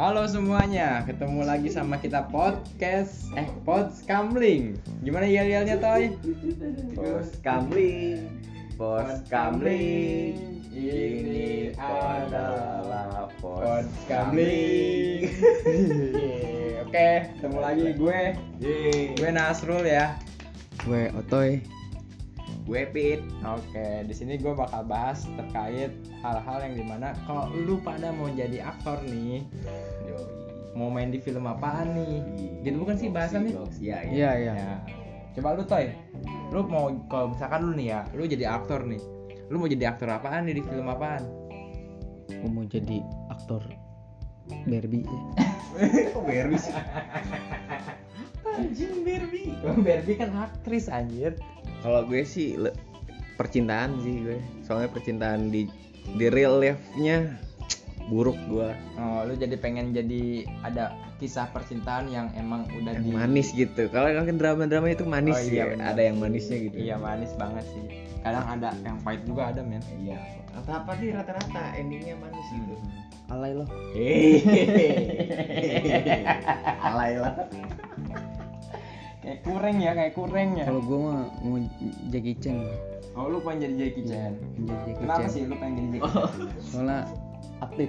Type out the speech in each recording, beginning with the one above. Halo semuanya, ketemu lagi sama kita podcast eh Pods Kamling. Gimana yel-yelnya Toy? Bos Kamling, Bos Kamling, ini adalah Bos Pods Kamling. Kamling. Yeay, Oke, ketemu lagi gue. Gue Nasrul ya. Gue Otoy Gue Pit. Oke, di sini gue bakal bahas terkait hal-hal yang dimana kalau lu pada mau jadi aktor nih, mau main di film apaan nih? Iya, Gitu bukan sih bahasannya? Iya, Iya iya Ya. Coba lu toy, lu mau kalau misalkan lu nih ya, lu jadi aktor nih, lu mau jadi aktor apaan nih di film apaan? Gue mau jadi aktor Barbie ya. Kok Barbie sih? Anjing Barbie. Barbie kan aktris anjir. Kalau gue sih le- percintaan sih gue. Soalnya percintaan di di real life-nya buruk gue. Oh, lu jadi pengen jadi ada kisah percintaan yang emang udah Yang Iya. di manis gitu. Kalau kan drama-drama itu manis Oh, iya, ya. benar. Ada yang manisnya gitu. Iya manis banget sih. Kadang ada yang pahit juga ada men. Iya. Apa-apa sih rata-rata endingnya manis gitu. Alay lo Alay lah. Kayak kurang ya, kayak kurang ya. Kalau gue mah mau Jackie Chan Oh, lu pengen jadi Jackie Iya. Chan. Oh. Pengen Jadi Jackie Kenapa Chan sih lu pengen jadi Jackie Chan? Soalnya aktif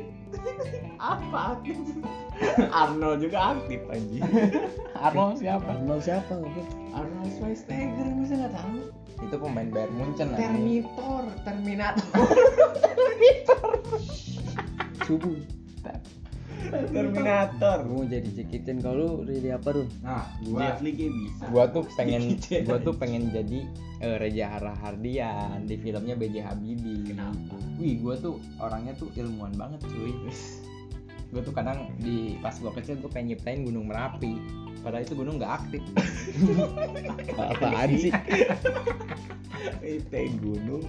Apa aktif? Arnold juga aktif anjing. Arnold siapa? Arnold siapa gue Arnold Schwarzenegger gue sih nggak tahu. Itu pemain Bayern Munchen anjing. Terminator, Terminator. Subuh Terminator. Gue mau jadi Jackie Chan Kalau lu jadi apa Run? Nah, Gua dia- asli kayak bisa. gua tuh pengen Jackie Chan. gua tuh pengen jadi eh, Reza Rahardian di filmnya BJ Habibie. Kenapa? Wih, gua tuh orangnya tuh ilmuwan banget, cuy. gua tuh kadang di pas gua kecil gua pengen nyiptain gunung Merapi. Padahal itu gunung nggak aktif. Apaan sih? Itu gunung.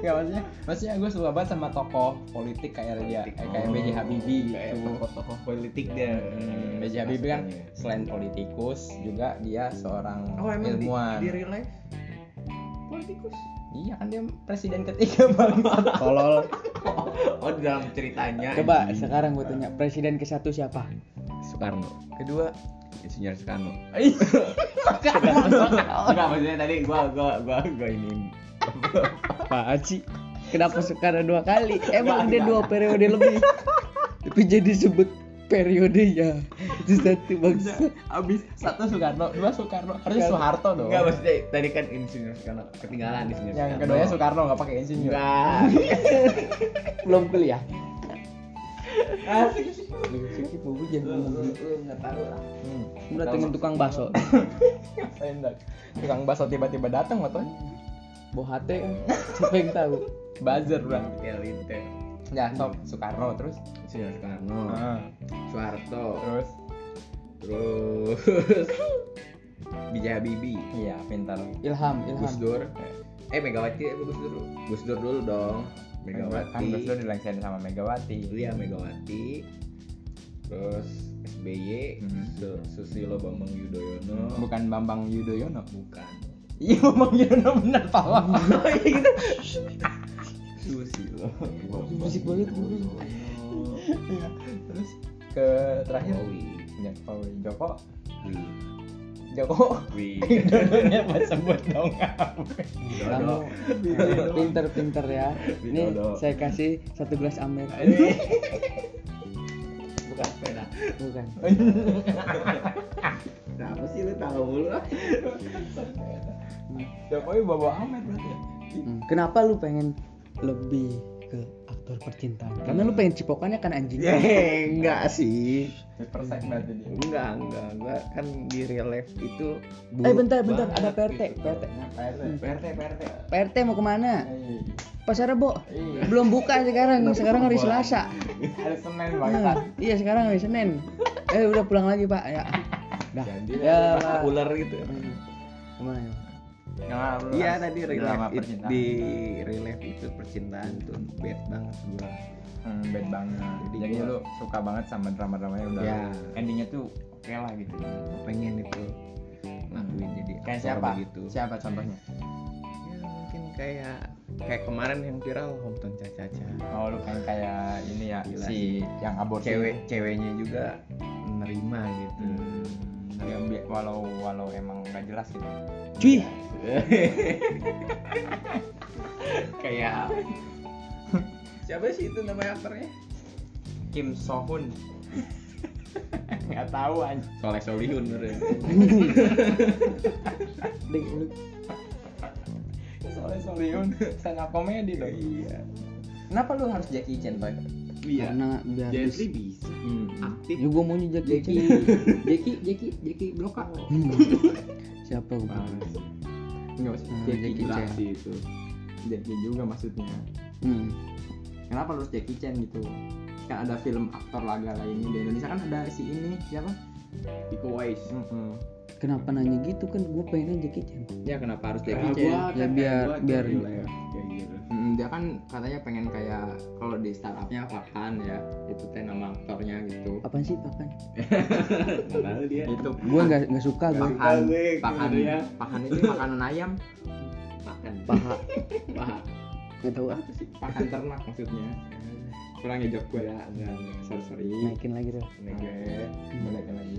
Gak Iya, maksudnya, maksudnya gue suka banget sama tokoh politik kayak Reza, eh, kayak BJ Habibie Kayak gitu. tokoh-tokoh politik deh. eh, Hmm, BJ Habibie Iya, kan selain politikus juga dia seorang Oh emang di, ilmuwan. di real life politikus? Iya kan dia presiden ketiga bang. Tolol Oh di dalam ceritanya. Coba sekarang gue tanya Presiden ke satu siapa? Soekarno. Kedua Insinyur Soekarno. Enggak maksudnya tadi gua gua gua gua ini. Apaan sih? Kenapa Soekarno dua kali? Emang dia dua periode lebih Tapi jadi sebut periodenya Itu satu bangsa Abis satu Soekarno, dua Soekarno, harusnya Soekarno. Soeharto dong. Enggak maksudnya tadi kan insinyur Soekarno ketinggalan insinyur yang keduanya Soekarno nggak pakai insinyur. Enggak. Belum kuliah Asik. Siki bobo jangan ngomong. Enggak Ah. tahu lah. Hmm. Udah pengen tukang bakso Ngapain, Dak? Tukang bakso tiba-tiba datang atau Bohate kan Siapa yang tahu buzzer bang. Elite. Ya, sob Soekarno terus. Insinyur Soekarno. No. Ah, Soeharto. terus Terus Bija Habibie. iya pintar. Ilham Ilham Gus Dur. Eh Megawati eh Gus Dur. Gus Dur dulu dong. Kan Gus Dur Megawati. dilengserin sama Megawati. Iya Megawati. Terus SBY, Hmm. Su- Susilo Bambang Yudhoyono. Bukan Bambang Yudhoyono. Bukan. Iya Bambang Yudhoyono benar pawang. Susilo. Berisik banget, guru. Iya. Terus ke terakhir Oh, Jokowi. ya, Jokowi. Joko Wi. Joko Wi. Yudhoyononya bahasa buat dong. Kamu Widodo. pinter-pinter ya Ini Widodo. saya kasih satu gelas amer Eh. Bukan sepeda. Bukan Kenapa sih lu tahu mulu? ah? Jokowi bawa Ahmed berarti. ya? Hmm, Kenapa lu pengen lebih ke aktor percintaan? Karena lu pengen cipokannya kan anjing Iya. Eh, enggak sih. Dipersek berarti dia. Enggak, enggak, enggak. Kan di real life itu Eh buruk bentar bentar banget. ada PRT gitu. PRT Nah, PRT. PRT PRT. PRT mau kemana? Pasar Rebo Iya. belum buka sekarang sekarang hari Selasa Ada Senin Nah, banget. iya sekarang hari Senin. Eh udah pulang lagi pak ya. Dah. Jadi, ya Masa Pak. ular gitu. Hmm. Kemana ya? Nah, lu Iya harus tadi real drama life it- percintaan. di real life itu percintaan tuh bad banget gue. Hmm, bad banget. Jadi, Iya. Jadi gua- lu suka banget sama drama-drama yang udah Ya. endingnya tuh oke lah gitu. pengen itu ngelakuin jadi Kayak aktor siapa? gitu Hmm. Siapa contohnya? ya mungkin kayak kayak kemarin yang viral hometown caca-caca oh lu kan kayak ini ya Gila si yang aborsi cewek ceweknya juga menerima gitu Hmm, yang bi- walau walau emang nggak jelas gitu cuy kayak Siapa sih itu namanya aktornya? Kim Sohun nggak tahu anj Soleh Solihun ya. Deng, lu soalnya Solihun stand up komedi loh Iya. kenapa lu harus Jackie Chan pak Iya. Hmm. karena biar Jadi bisa. Aktif. ya gua maunya Jackie Chan Jeki, Jeki, Jeki Bloka. Oh. Hmm. siapa gua nggak usah Hmm, Jackie, Jackie Chan. Chan. Sih itu. Jackie juga maksudnya hmm. kenapa lu harus Jackie Chan gitu kan ada film aktor laga lainnya di Indonesia kan ada si ini siapa Iko Uwais. Mm-mm. kenapa nanya gitu kan gua pengen Jackie Chan ya kenapa harus Nah, gua Jackie Chan Ya, kan- biar- gua biar- jadi live, kayak gitu. Mm, dia kan katanya pengen kayak kalau di startupnya Farhan ya itu teh nama aktornya gitu apaan sih pakan Nggak tahu dia. itu gua nggak nggak suka gua Pahan, gue, pahan, gitu ya. pahan itu makanan ayam, Makan. paha Paha. nggak tahu ah apa sih? Pahan ternak maksudnya. Kurang ya jawab gue ya, enggak, enggak, sorry sorry. naikin lagi deh Ini gue, balik kan lagi.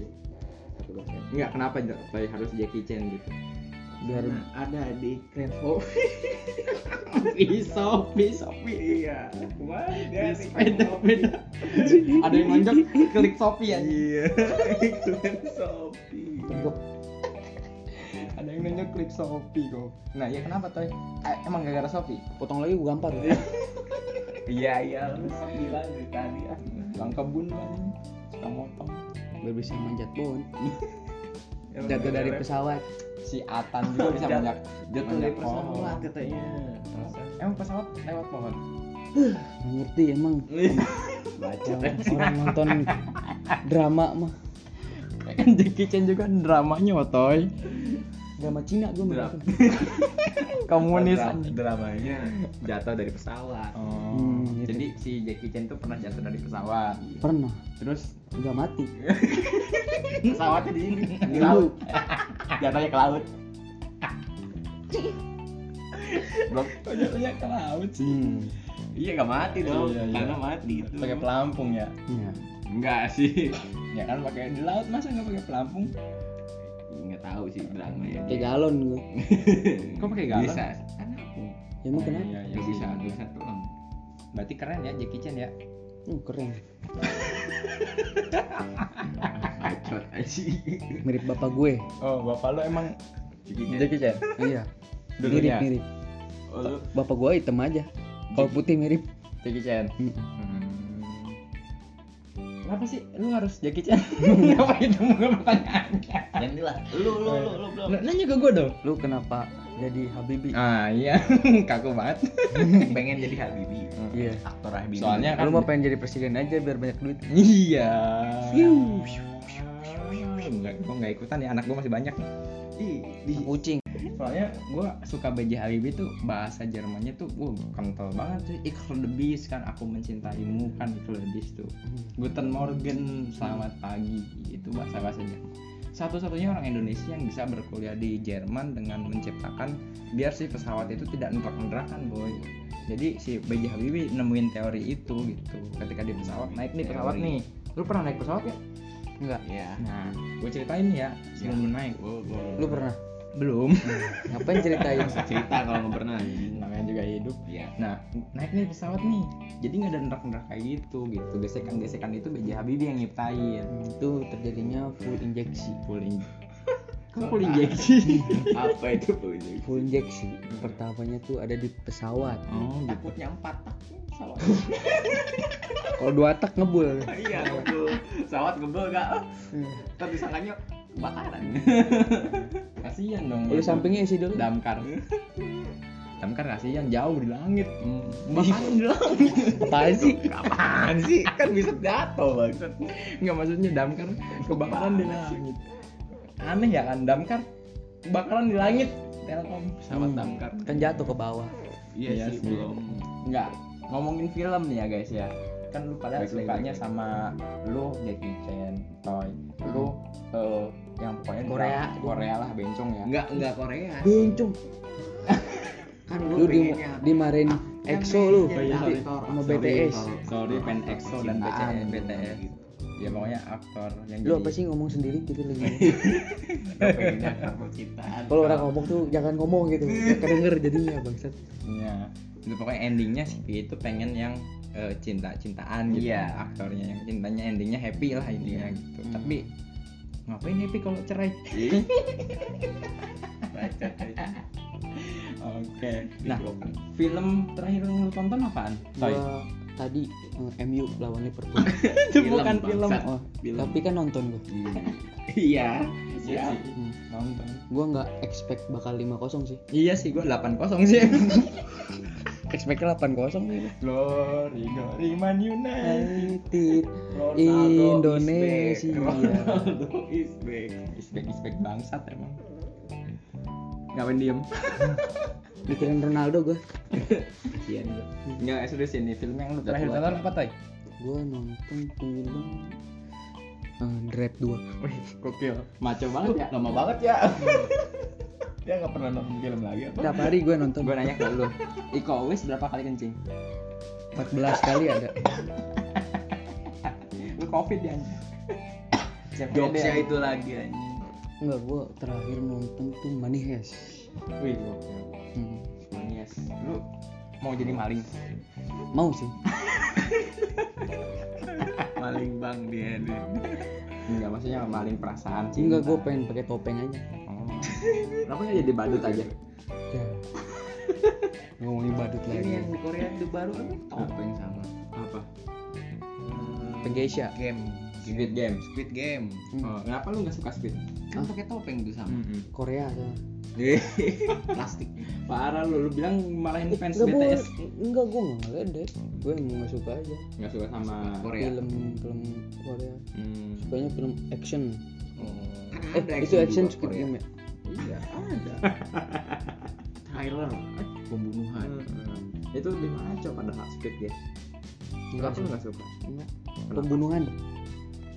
Satu dosen. Enggak kenapa saya harus Jackie Chan gitu? biar Nah, ada di Grand Pisau, pisau, Iya. Kemarin dia di beda beda. Ada yang nonjok, klik Shopee aja. Iya. Grand Shopee. tegok Ada yang nonjok klik Shopee kok. Nah ya kenapa toy? Eh, Emang gara-gara Shopee? potong lagi gua gampar Iya, iya. Lu gila dari tadi. ah. Bang kebun lu anjing. Suka motong. biar bisa manjat pohon Emang jatuh dari gara-gara- pesawat Si Atan juga bisa Jat- banyak jatuh dari Banyak pesawat pohon. katanya. Emang pesawat lewat pohon? nggak ngerti emang Baca. orang, orang nonton drama mah Kan Jackie Chan juga dramanya Otoy drama Cina gua mah Drama. Komunis anjing. dramanya jatuh dari pesawat. Oh, Hmm, gitu. Jadi si Jackie Chan tuh pernah jatuh dari pesawat pernah Terus nggak mati pesawatnya di ini Di Laut. laut Jatuhnya ke laut Blok Jatuhnya ke laut hmm. Iya nggak mati dong, Iya, iya. karena mati itu. Pakai pelampung ya ya. Enggak sih. Ya kan pakai di laut masa nggak pakai pelampung Enggak tahu sih drama ya. kayak galon gua gitu. Kok pakai galon? Bisa. Kan aku. ya emang kenapa Iya, iya, Nggak sih. bisa, nggak bisa telan. Berarti keren ya Jackie Chan ya Hmm, keren Bacot aja. mirip bapak gue Oh bapak lo emang Jadi Chan? iya mirip Dulunya? mirip oh, lu bapak gue hitam aja kalau putih mirip Jackie Chan Hmm. Kenapa sih lu harus Jackie Chan? Kenapa itu gue pertanyaannya? ganti lah. Lu lu lu lu belum. Nanya ke gue dong. lu kenapa jadi Habibi Ah iya, kaku banget. Pengen jadi Habibi. iya Aktor Habibi. Soalnya kan lu mah pengen jadi presiden aja biar banyak duit Iya. Fiu. Enggak, gue nggak ikutan ya anak gue masih banyak. Ih, di kucing Soalnya gue suka BJ Habibie tuh bahasa Jermannya tuh gue kental banget tuh. Ich liebe dich kan aku mencintaimu kan ich liebe dich tuh. Guten Morgen, selamat pagi. Itu bahasa-bahasa Jerman. Satu-satunya orang Indonesia yang bisa berkuliah di Jerman dengan menciptakan biar si pesawat itu tidak nendrak-nendrakan, boy. Jadi si B.J. Habibie nemuin teori itu gitu. Ketika di pesawat, naik nih pesawat Teori. nih. Lu pernah naik pesawat ya? enggak ya. Nah, gue ceritain ya sebelum lu naik. Gua gua lu pernah Belum. ngapain ceritain cerita kalau nggak pernah. Namanya juga hidup. Iya. Nah, naik nih pesawat nih. Jadi nggak ada nendrak-nendrak kayak gitu gitu. Gesekan-gesekan itu B.J. Habibie yang nyiptain. Hmm, itu terjadinya full injeksi Full in- Kok full injeksi? Apa itu punya? full injeksi pertamanya tuh ada di pesawat Oh, gitu. Takutnya empat tak. Pesawat. kalau dua tak ngebul Iya, ngebul. Pesawat ngebul enggak? Entar disangkanya kebakaran. Kasihan dong. lu ya. sampingnya isi dulu damkar. damkar kasihan jauh di langit. Bahkan di langit. Hmm. Iya. apaan sih Apaan sih? Kan bisa jatuh, Bang. Enggak maksudnya damkar kebakaran di langit. Aneh ya kan damkar kebakaran di langit. Telkom pesawat Hmm. damkar. kan jatuh ke bawah Iya, Iya sih, sih. belum. Enggak. Ngomongin film nih ya guys ya. Kan lu pada Baik, baik, sukanya baik. sama lu Jackie Chan, Toy. Lu eh, yang pokoknya Korea. Korea lah bencong ya. Enggak, enggak Korea. bencong Iya. kan gue lu di pengennya Ah, kan dimarahin EXO lu Oh, iya. nanti sama BTS sorry pen EXO Nah, dan BTS Ciptaan. BTS ya pokoknya aktor yang lu jadi- apa sih ngomong sendiri gitu lagi pengennya aktor percintaan kalau orang ngomong tuh jangan ngomong gitu kedenger jadinya bangsat Ya, itu pokoknya endingnya sih itu pengen yang eh, cinta-cintaan gitu. Iya. Aktornya yang cintanya endingnya happy lah intinya gitu. Hmm. Tapi ngapain happy kalau cerai? baca aja. Oke. Nah, film terakhir yang lu tonton apaan? Toy. gua tadi eh, MU lawan Liverpool itu bukan Film, film. bangsat. oh, Film. tapi kan nonton gua iya Iya iya sih. Hmm. Nonton. gua nggak expect bakal 5-0 sih Iya sih gua 8-0 sih. expectnya 8-0 gitu Glory, glory Man United. United Ronaldo is Iya. Indonesia back. Ronaldo is back Ispek ispek bangsat emang. Hmm. Ngapain diem? mikirin Ronaldo gua kasihan lu. Enggak, serius ini film yang lu Udah terakhir tua. tonton apa, Toy? gua nonton film eh, Drive 2 Wih, gokil. maco banget ya Lama banget ya. Dia nggak pernah nonton film lagi apa? tiap hari gua nonton Gue nanya ke lu, Iko Uwais berapa kali kencing? 14 kali ada Lu covid ya? jokesnya itu lagi anjing Enggak, gua terakhir nonton tuh Manihes. Wih, gokil. Hmm. Yes. Lu mau jadi maling? Mau sih. maling bang dia nih Enggak, maksudnya maling perasaan sih. Enggak, gua pengen pakai topeng aja. Oh. kenapa nggak jadi badut aja Ya. Ngomongin badut ini ya. yang lagi. di Korea itu baru apa topeng sama Apa? Penggeisha. Ya, game Squid Game. Squid Game Hmm. Oh, kenapa lu nggak suka Squid? kan pakai topeng tuh sama Korea tuh. Hmm. plastik Parah lu, lu bilang malahin fans Enggak, gua- BTS. Enggak, gua enggak ngeledek. Gua emang enggak suka aja. Nggak suka sama Korea. Film film Korea. Hmm. Sukanya film action. Oh. Eh, Ada itu action juga Squid Korea. Game ya? iya ada Tyler Eh, pembunuhan Hmm. Itu di mana coba padahal Squid Game? Enggak Kenapa lu ya. suka. nggak suka? Enggak. Kenapa? Pembunuhan.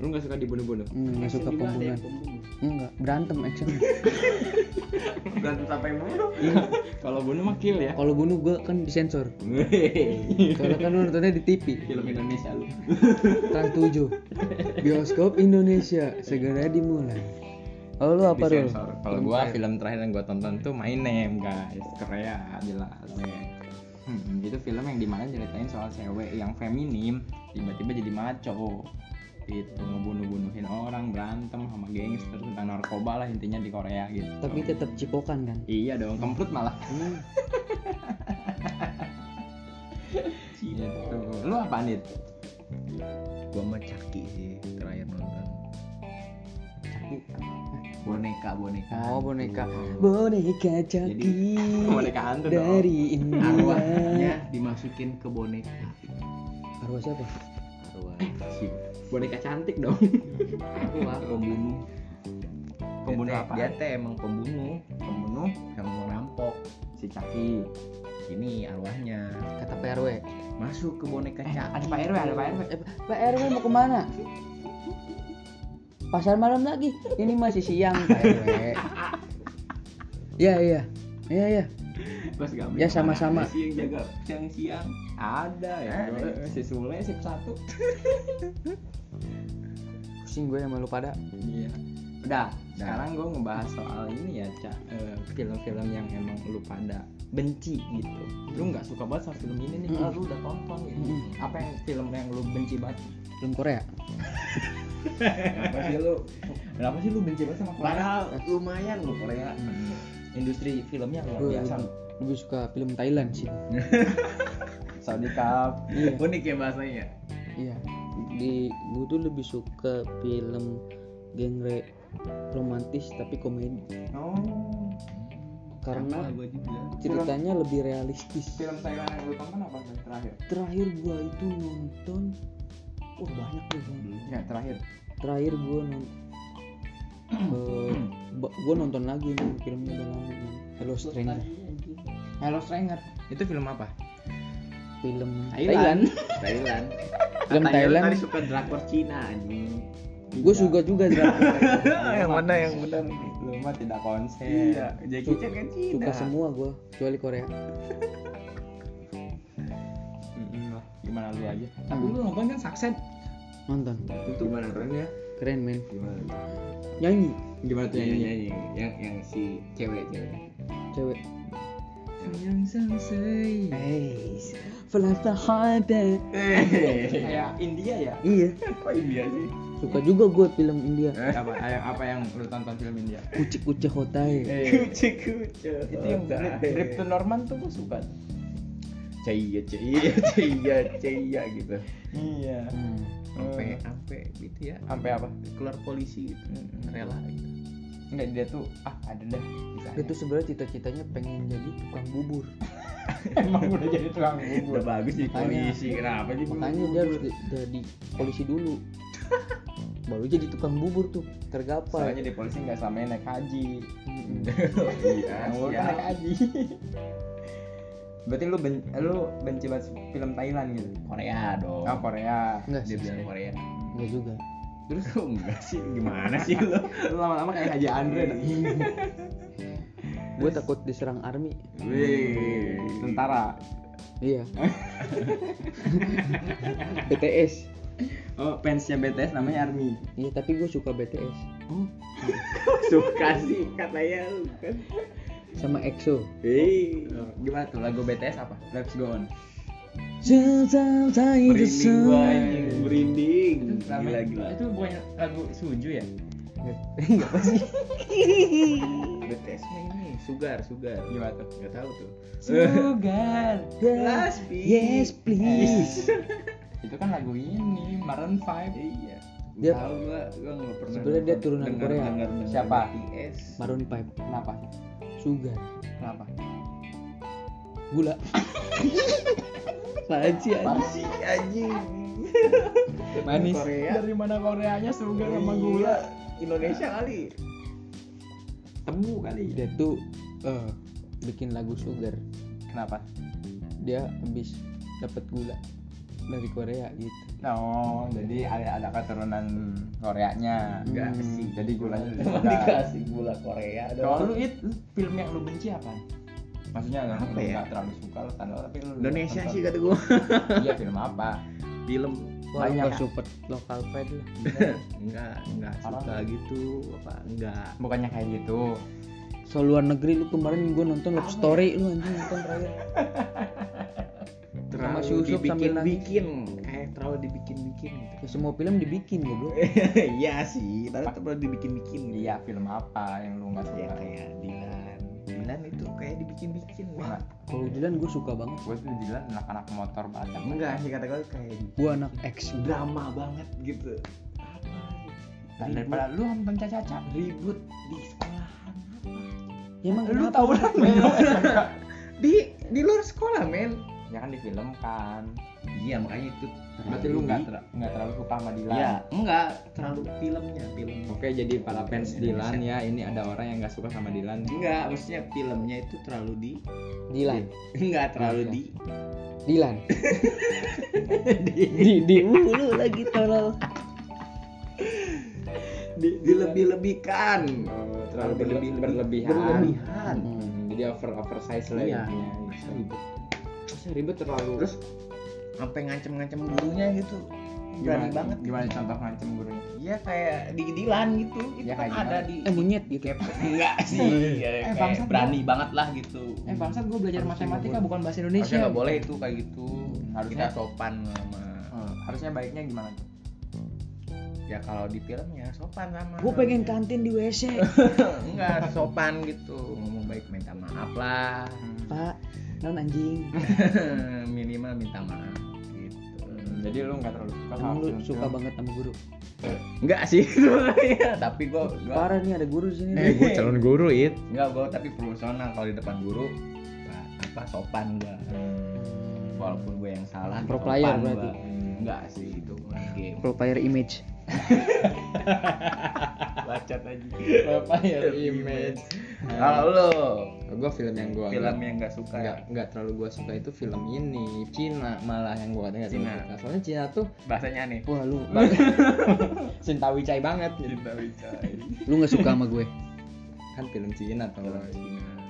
Lu nggak suka dibunuh-bunuh? Hmm, Enggak suka Action juga ada yang pembunuhan. Enggak, berantem action. pembunuh. berantem sampai bunuh Iya. Kalau bunuh mah kill ya. Kalau bunuh gua kan disensor. Soalnya kan lu nontonnya di TV. film Indonesia lu. Trans 7 Bioskop Indonesia segera dimulai. Oh lu apa Rul? Disensor. Kalau gua film terakhir yang gua tonton tuh My Name guys, Korea jelas. Hmm, itu film yang dimana ceritain soal cewek yang feminim tiba-tiba jadi maco itu ngebunuh-bunuhin orang berantem sama gangster tentang narkoba lah intinya di Korea gitu Tapi tetap cipokan kan. iya dong kemprut malah Hmm, gitu lu apa nih gua mah caki sih terakhir nonton boneka boneka Oh boneka. Boneka caki boneka hantu dong. dari Hmm. India. arwahnya dimasukin ke boneka Arwah siapa? arwah Eh, boneka cantik dong arwah pembunuh Pembunuh Dia teh- apa? dia teh emang pembunuh pembunuh emang merampok si Caki ini arwahnya Kata Pak RW. masuk ke boneka cak ada Pak RW ada Pak RW Eh, Pak RW mau kemana? Pasar malam lagi. Ini masih siang Pak RW. Iya iya. Iya iya. pas gak Ya, sama-sama. si yang jaga siang siang ada ya Ada. si Sule sip satu Pusing gue sama lu pada. Iya. Udah, sekarang gue ngebahas soal ini ya, Cak. Eh, film-film yang emang lu pada benci gitu. Lu nggak suka banget sama film ini nih, Mm-mm. kalau lu udah tonton gitu. Mm-mm. Apa yang film yang lu benci banget? Film Korea. Kenapa sih lu? Kenapa sih lu benci banget sama Korea? ya padahal lumayan loh Korea Industri filmnya luar Gue Iya, biasa. lebih, lebih suka film Thailand sih. Saudi Cup. Iya. unik ya bahasanya Iya. Di gue tuh lebih suka film genre romantis tapi komedi Oh. karena gue juga ceritanya lebih realistis. Film Thailand yang lu tonton apa yang terakhir? Terakhir gua itu nonton wah banyak tuh Bang. Ya, terakhir. Terakhir gua nonton Eh, ba- gua nonton lagi nih filmnya udah lama nih. Hello Stranger Hello Stranger. Itu film apa? film Thailand. Thailand Thailand film Katanya lu Thailand tadi suka drakor Cina anjing Gue suka juga drama. yang mana yang benar ini lu mah tidak konsen Iya, Jackie Chan kan Cina. suka semua gue, kecuali Korea. Mm-mm lah, gimana lu aja tapi lu nonton kan sakset Nonton, Itu gimana ya? kerennya? keren men. Gimana? Nyanyi, gimana tuh Nyanyi nyanyinya nyanyi Iya, yang yang si cewek cewek. cewek. sayang sensei Hey, fly the harder. kayak India ya Iya, Kok India sih? suka juga gue film India. apa yang apa yang lu tonton film India Kucik kucik hotai. Eh. Kucing kucing. itu yang Rip- Rip to Norman tuh gue suka cia cia cia cia gitu iya Eh. Hmm. sampai sampai gitu ya sampai apa keluar polisi gitu rela gitu enggak dia tuh ah ada dah bisa Dia tuh sebenarnya cita-citanya pengen jadi tukang bubur. emang udah jadi tukang udah bubur bagus sih Makanya- polisi kenapa sih Makanya dia harus di- jadi polisi dulu. Baru jadi tukang bubur tuh, tergapai. soalnya di polisi nggak sama naik haji Mm-mm. Iya, Yang gua kan naik haji berarti lu ben- lu benci banget film Thailand gitu Korea dong ah Korea Enggak dia sih, bilang Korea enggak juga. terus kok enggak sih gimana sih lo lu lama-lama kayak Haji Andre dah. Gue takut diserang army. Wih, tentara Iya. BTS. oh fansnya BTS namanya Army Iya, tapi gue suka BTS suka sih katanya lu kan. sama EXO. Hei, gimana tuh lagu BTS apa Let's Go On merinding gua anjing, Enggak merinding. Gila Namanya- gila. itu bukan lagu Suju ya Iya, apa sih? BTS mah ini sugar sugar. gimana tuh Enggak tahu tuh. Sugar Last piece. Eh, Yes, please. itu kan lagu ini Maroon 5 Iya. Dia- Tahu gua gua enggak pernah. Sebenarnya dia turunan Korea. Siapa? BTS. Maroon 5, kenapa Sugar, kenapa gula. Apaan sih anjing? Si anjing. Manis. Korea. dari mana Koreanya Sugar sama Iya, gula Indonesia kali. tebu kali Dia tuh eh, bikin lagu Sugar. kenapa Dia habis dapat gula dari Korea gitu. no jadi ada ada keturunan Koreanya Enggak Hmm. sih. jadi gulanya dari Cuma Sugar. dikasih gula Korea kalau lu iya. it film yang lu benci apa maksudnya nggak Apa lu ya? nggak terlalu suka lu kan tapi lu Indonesia nonton. sih kata gua. iya film apa Film Banyak. Banyak support iya. lokal pride lah. enggak enggak Orang. suka gitu apa enggak bukannya kayak gitu Soal luar negeri lu kemarin gue nonton Love Story lu anjing nonton terakhir. terlalu si Usup sambil dibikin nangis. bikin kayak terlalu dibikin bikin gitu Ya, semua film dibikin goblok. iya sih tapi terlalu dibikin bikin iya film apa yang lu nggak ya suka kayak Dilan Dilan itu kayak dibikin bikin Nah, Kalau Dylan gue suka banget. gue tuh Dilan anak-anak motor banget enggak sih kata gue kayak Gue anak ex drama banget gitu apa Dan Nah, daripada lu nonton caca-caca ribut di sekolahan Ya emang lu kenapa? tau lah lu dong. di di luar sekolah men ya kan di film kan iya makanya itu berarti lu nggak ter- nggak terlalu suka sama Dilan Iya, enggak terlalu filmnya film oke jadi para fans Dilan ya ini ada orang yang nggak suka sama Dilan enggak maksudnya filmnya itu terlalu di Dilan. enggak terlalu Iya. di Dilan. di di mulu lagi tolol. di- dilebih-lebihkan Oh, terlalu berlebih- berlebihan berlebihan. Hmm, jadi over oversize lah Iya. intinya. Terus ribet terlalu terus sampai ngancem-ngancem gurunya gitu berani banget gitu. gimana contoh ngancem gurunya iya kayak diidilan gitu itu Ya, kan kayak ada gimana? Iya Eh, di Eh monyet gitu. enggak sih ya, kayak bangsat, berani banget lah gitu eh bangsat gue belajar Harusnya matematika boleh. bukan bahasa harusnya Indonesia nggak boleh itu kayak gitu harusnya- harusnya sopan sama Hmm, harusnya baiknya gimana tuh ya kalau di filmnya sopan sama Gue pengen kan? kantin di WC. enggak sopan gitu ngomong baik minta maaf lah Pak, non anjing. minimal minta maaf gitu Hmm, jadi lu nggak terlalu suka sama Emang lu film suka banget sama guru. enggak sih Iya, tapi gua gua Parah nih ada guru di sini. Eh, gua calon guru it enggak gua tapi profesional kalau di depan guru apa- apa sopan gua walaupun gue yang salah Hmm. Pro sopan player gua. berarti. Hmm, enggak sih itu main game Pro player image. Bacat aja. Vampire Image. Kalau lo gue film yang gue film yang gak suka nggak nggak terlalu gue suka itu film ini Cina malah yang gue nggak terlalu Cina. suka soalnya Cina tuh bahasanya aneh. wah lu Cinta Wicai banget gitu. Cinta Wicai. Lu nggak suka sama gue? kan film Cina tuh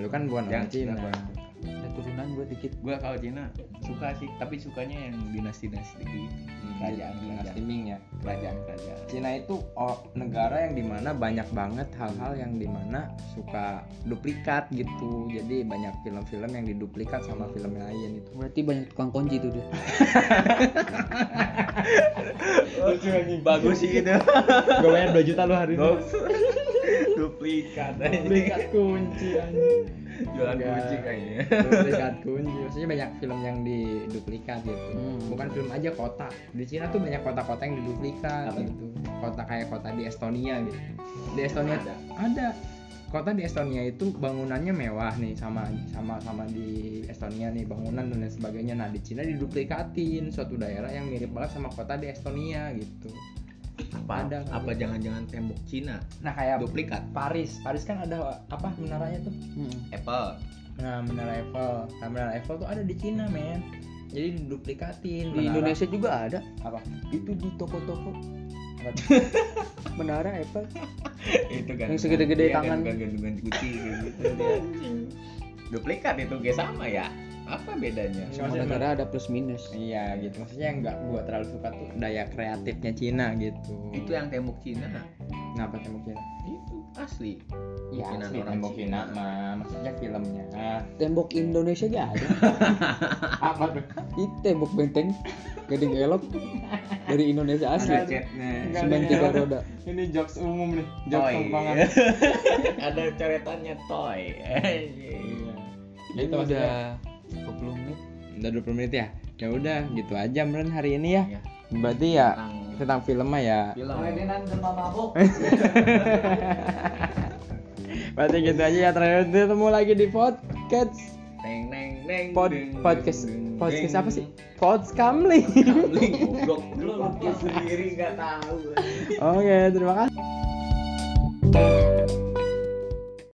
lu kan bukan orang Jangan Cina Iya, Cina, Ada turunan gue dikit. Gua kalau Cina suka sih, tapi sukanya yang dinasti-dinasti gitu. Kerajaan, Hmm, dinasti kerajaan, Ming ya kerajaan, kerajaan. Cina itu o- negara yang dimana banyak banget hal-hal yang dimana suka duplikat gitu jadi banyak film-film yang diduplikat sama film lain itu Berarti banyak tukang kunci tuh dia. Bagus sih gitu. gue bayar 2 juta lu hari Duplikat duplikat kunci anjing. Jualan Enggak. kunci kayaknya. duplikat kunci maksudnya banyak film yang diduplikat gitu Hmm. bukan film aja kota di Cina tuh banyak kota-kota yang diduplikat Apa? gitu kota kayak kota di Estonia gitu di Estonia ada ada kota di Estonia itu bangunannya mewah nih sama sama sama di Estonia nih bangunan dan lain sebagainya nah di Cina diduplikatin suatu daerah yang mirip banget sama kota di Estonia gitu Apa? Ada. Apa jangan-jangan tembok Cina nah kayak duplikat? Paris Paris kan ada apa menaranya tuh Apple. Nah, Menara Eiffel. Nah, Menara Eiffel tuh ada di Cina, men. Jadi diduplikatin. Di Menara- Indonesia juga ada. apa? Itu di toko-toko. Apa Menara Apple. itu kan Yang segede-gede tangan. gandungan kunci kayak gitu duplikat itu kayak sama ya apa bedanya Iya. Semua negara ada plus minus. Iya, gitu. Maksudnya yang nggak gua terlalu suka tuh daya kreatifnya Cina gitu. itu yang tembok Cina Kenapa tembok Cina? itu asli Ya, Bikinan asli orang tembok Cina Cina. mah. Maksudnya filmnya. Tembok Indonesia aja ada. apa tuh? Itu tembok benteng. Gading elok dari Indonesia asli. ada catnya Sembilan tiga roda. Ini jokes umum nih. Jokes toy tumpangan. ada coretannya toy Iya. Ini Gitu maksudnya. 20 menit. Udah 20 menit ya? Ya udah, gitu aja meren hari ini ya. Iya. Berarti ya Tentang- tentang filmnya ya. bilang Eh. Berarti gitu aja ya. Terakhir ketemu lagi di podcast neng neng neng pod deng, podcast deng, deng, podcast deng. apa sih? Podcast Kamling. Kamling, goblok lu lupa sendiri nggak tahu Oke, terima kasih.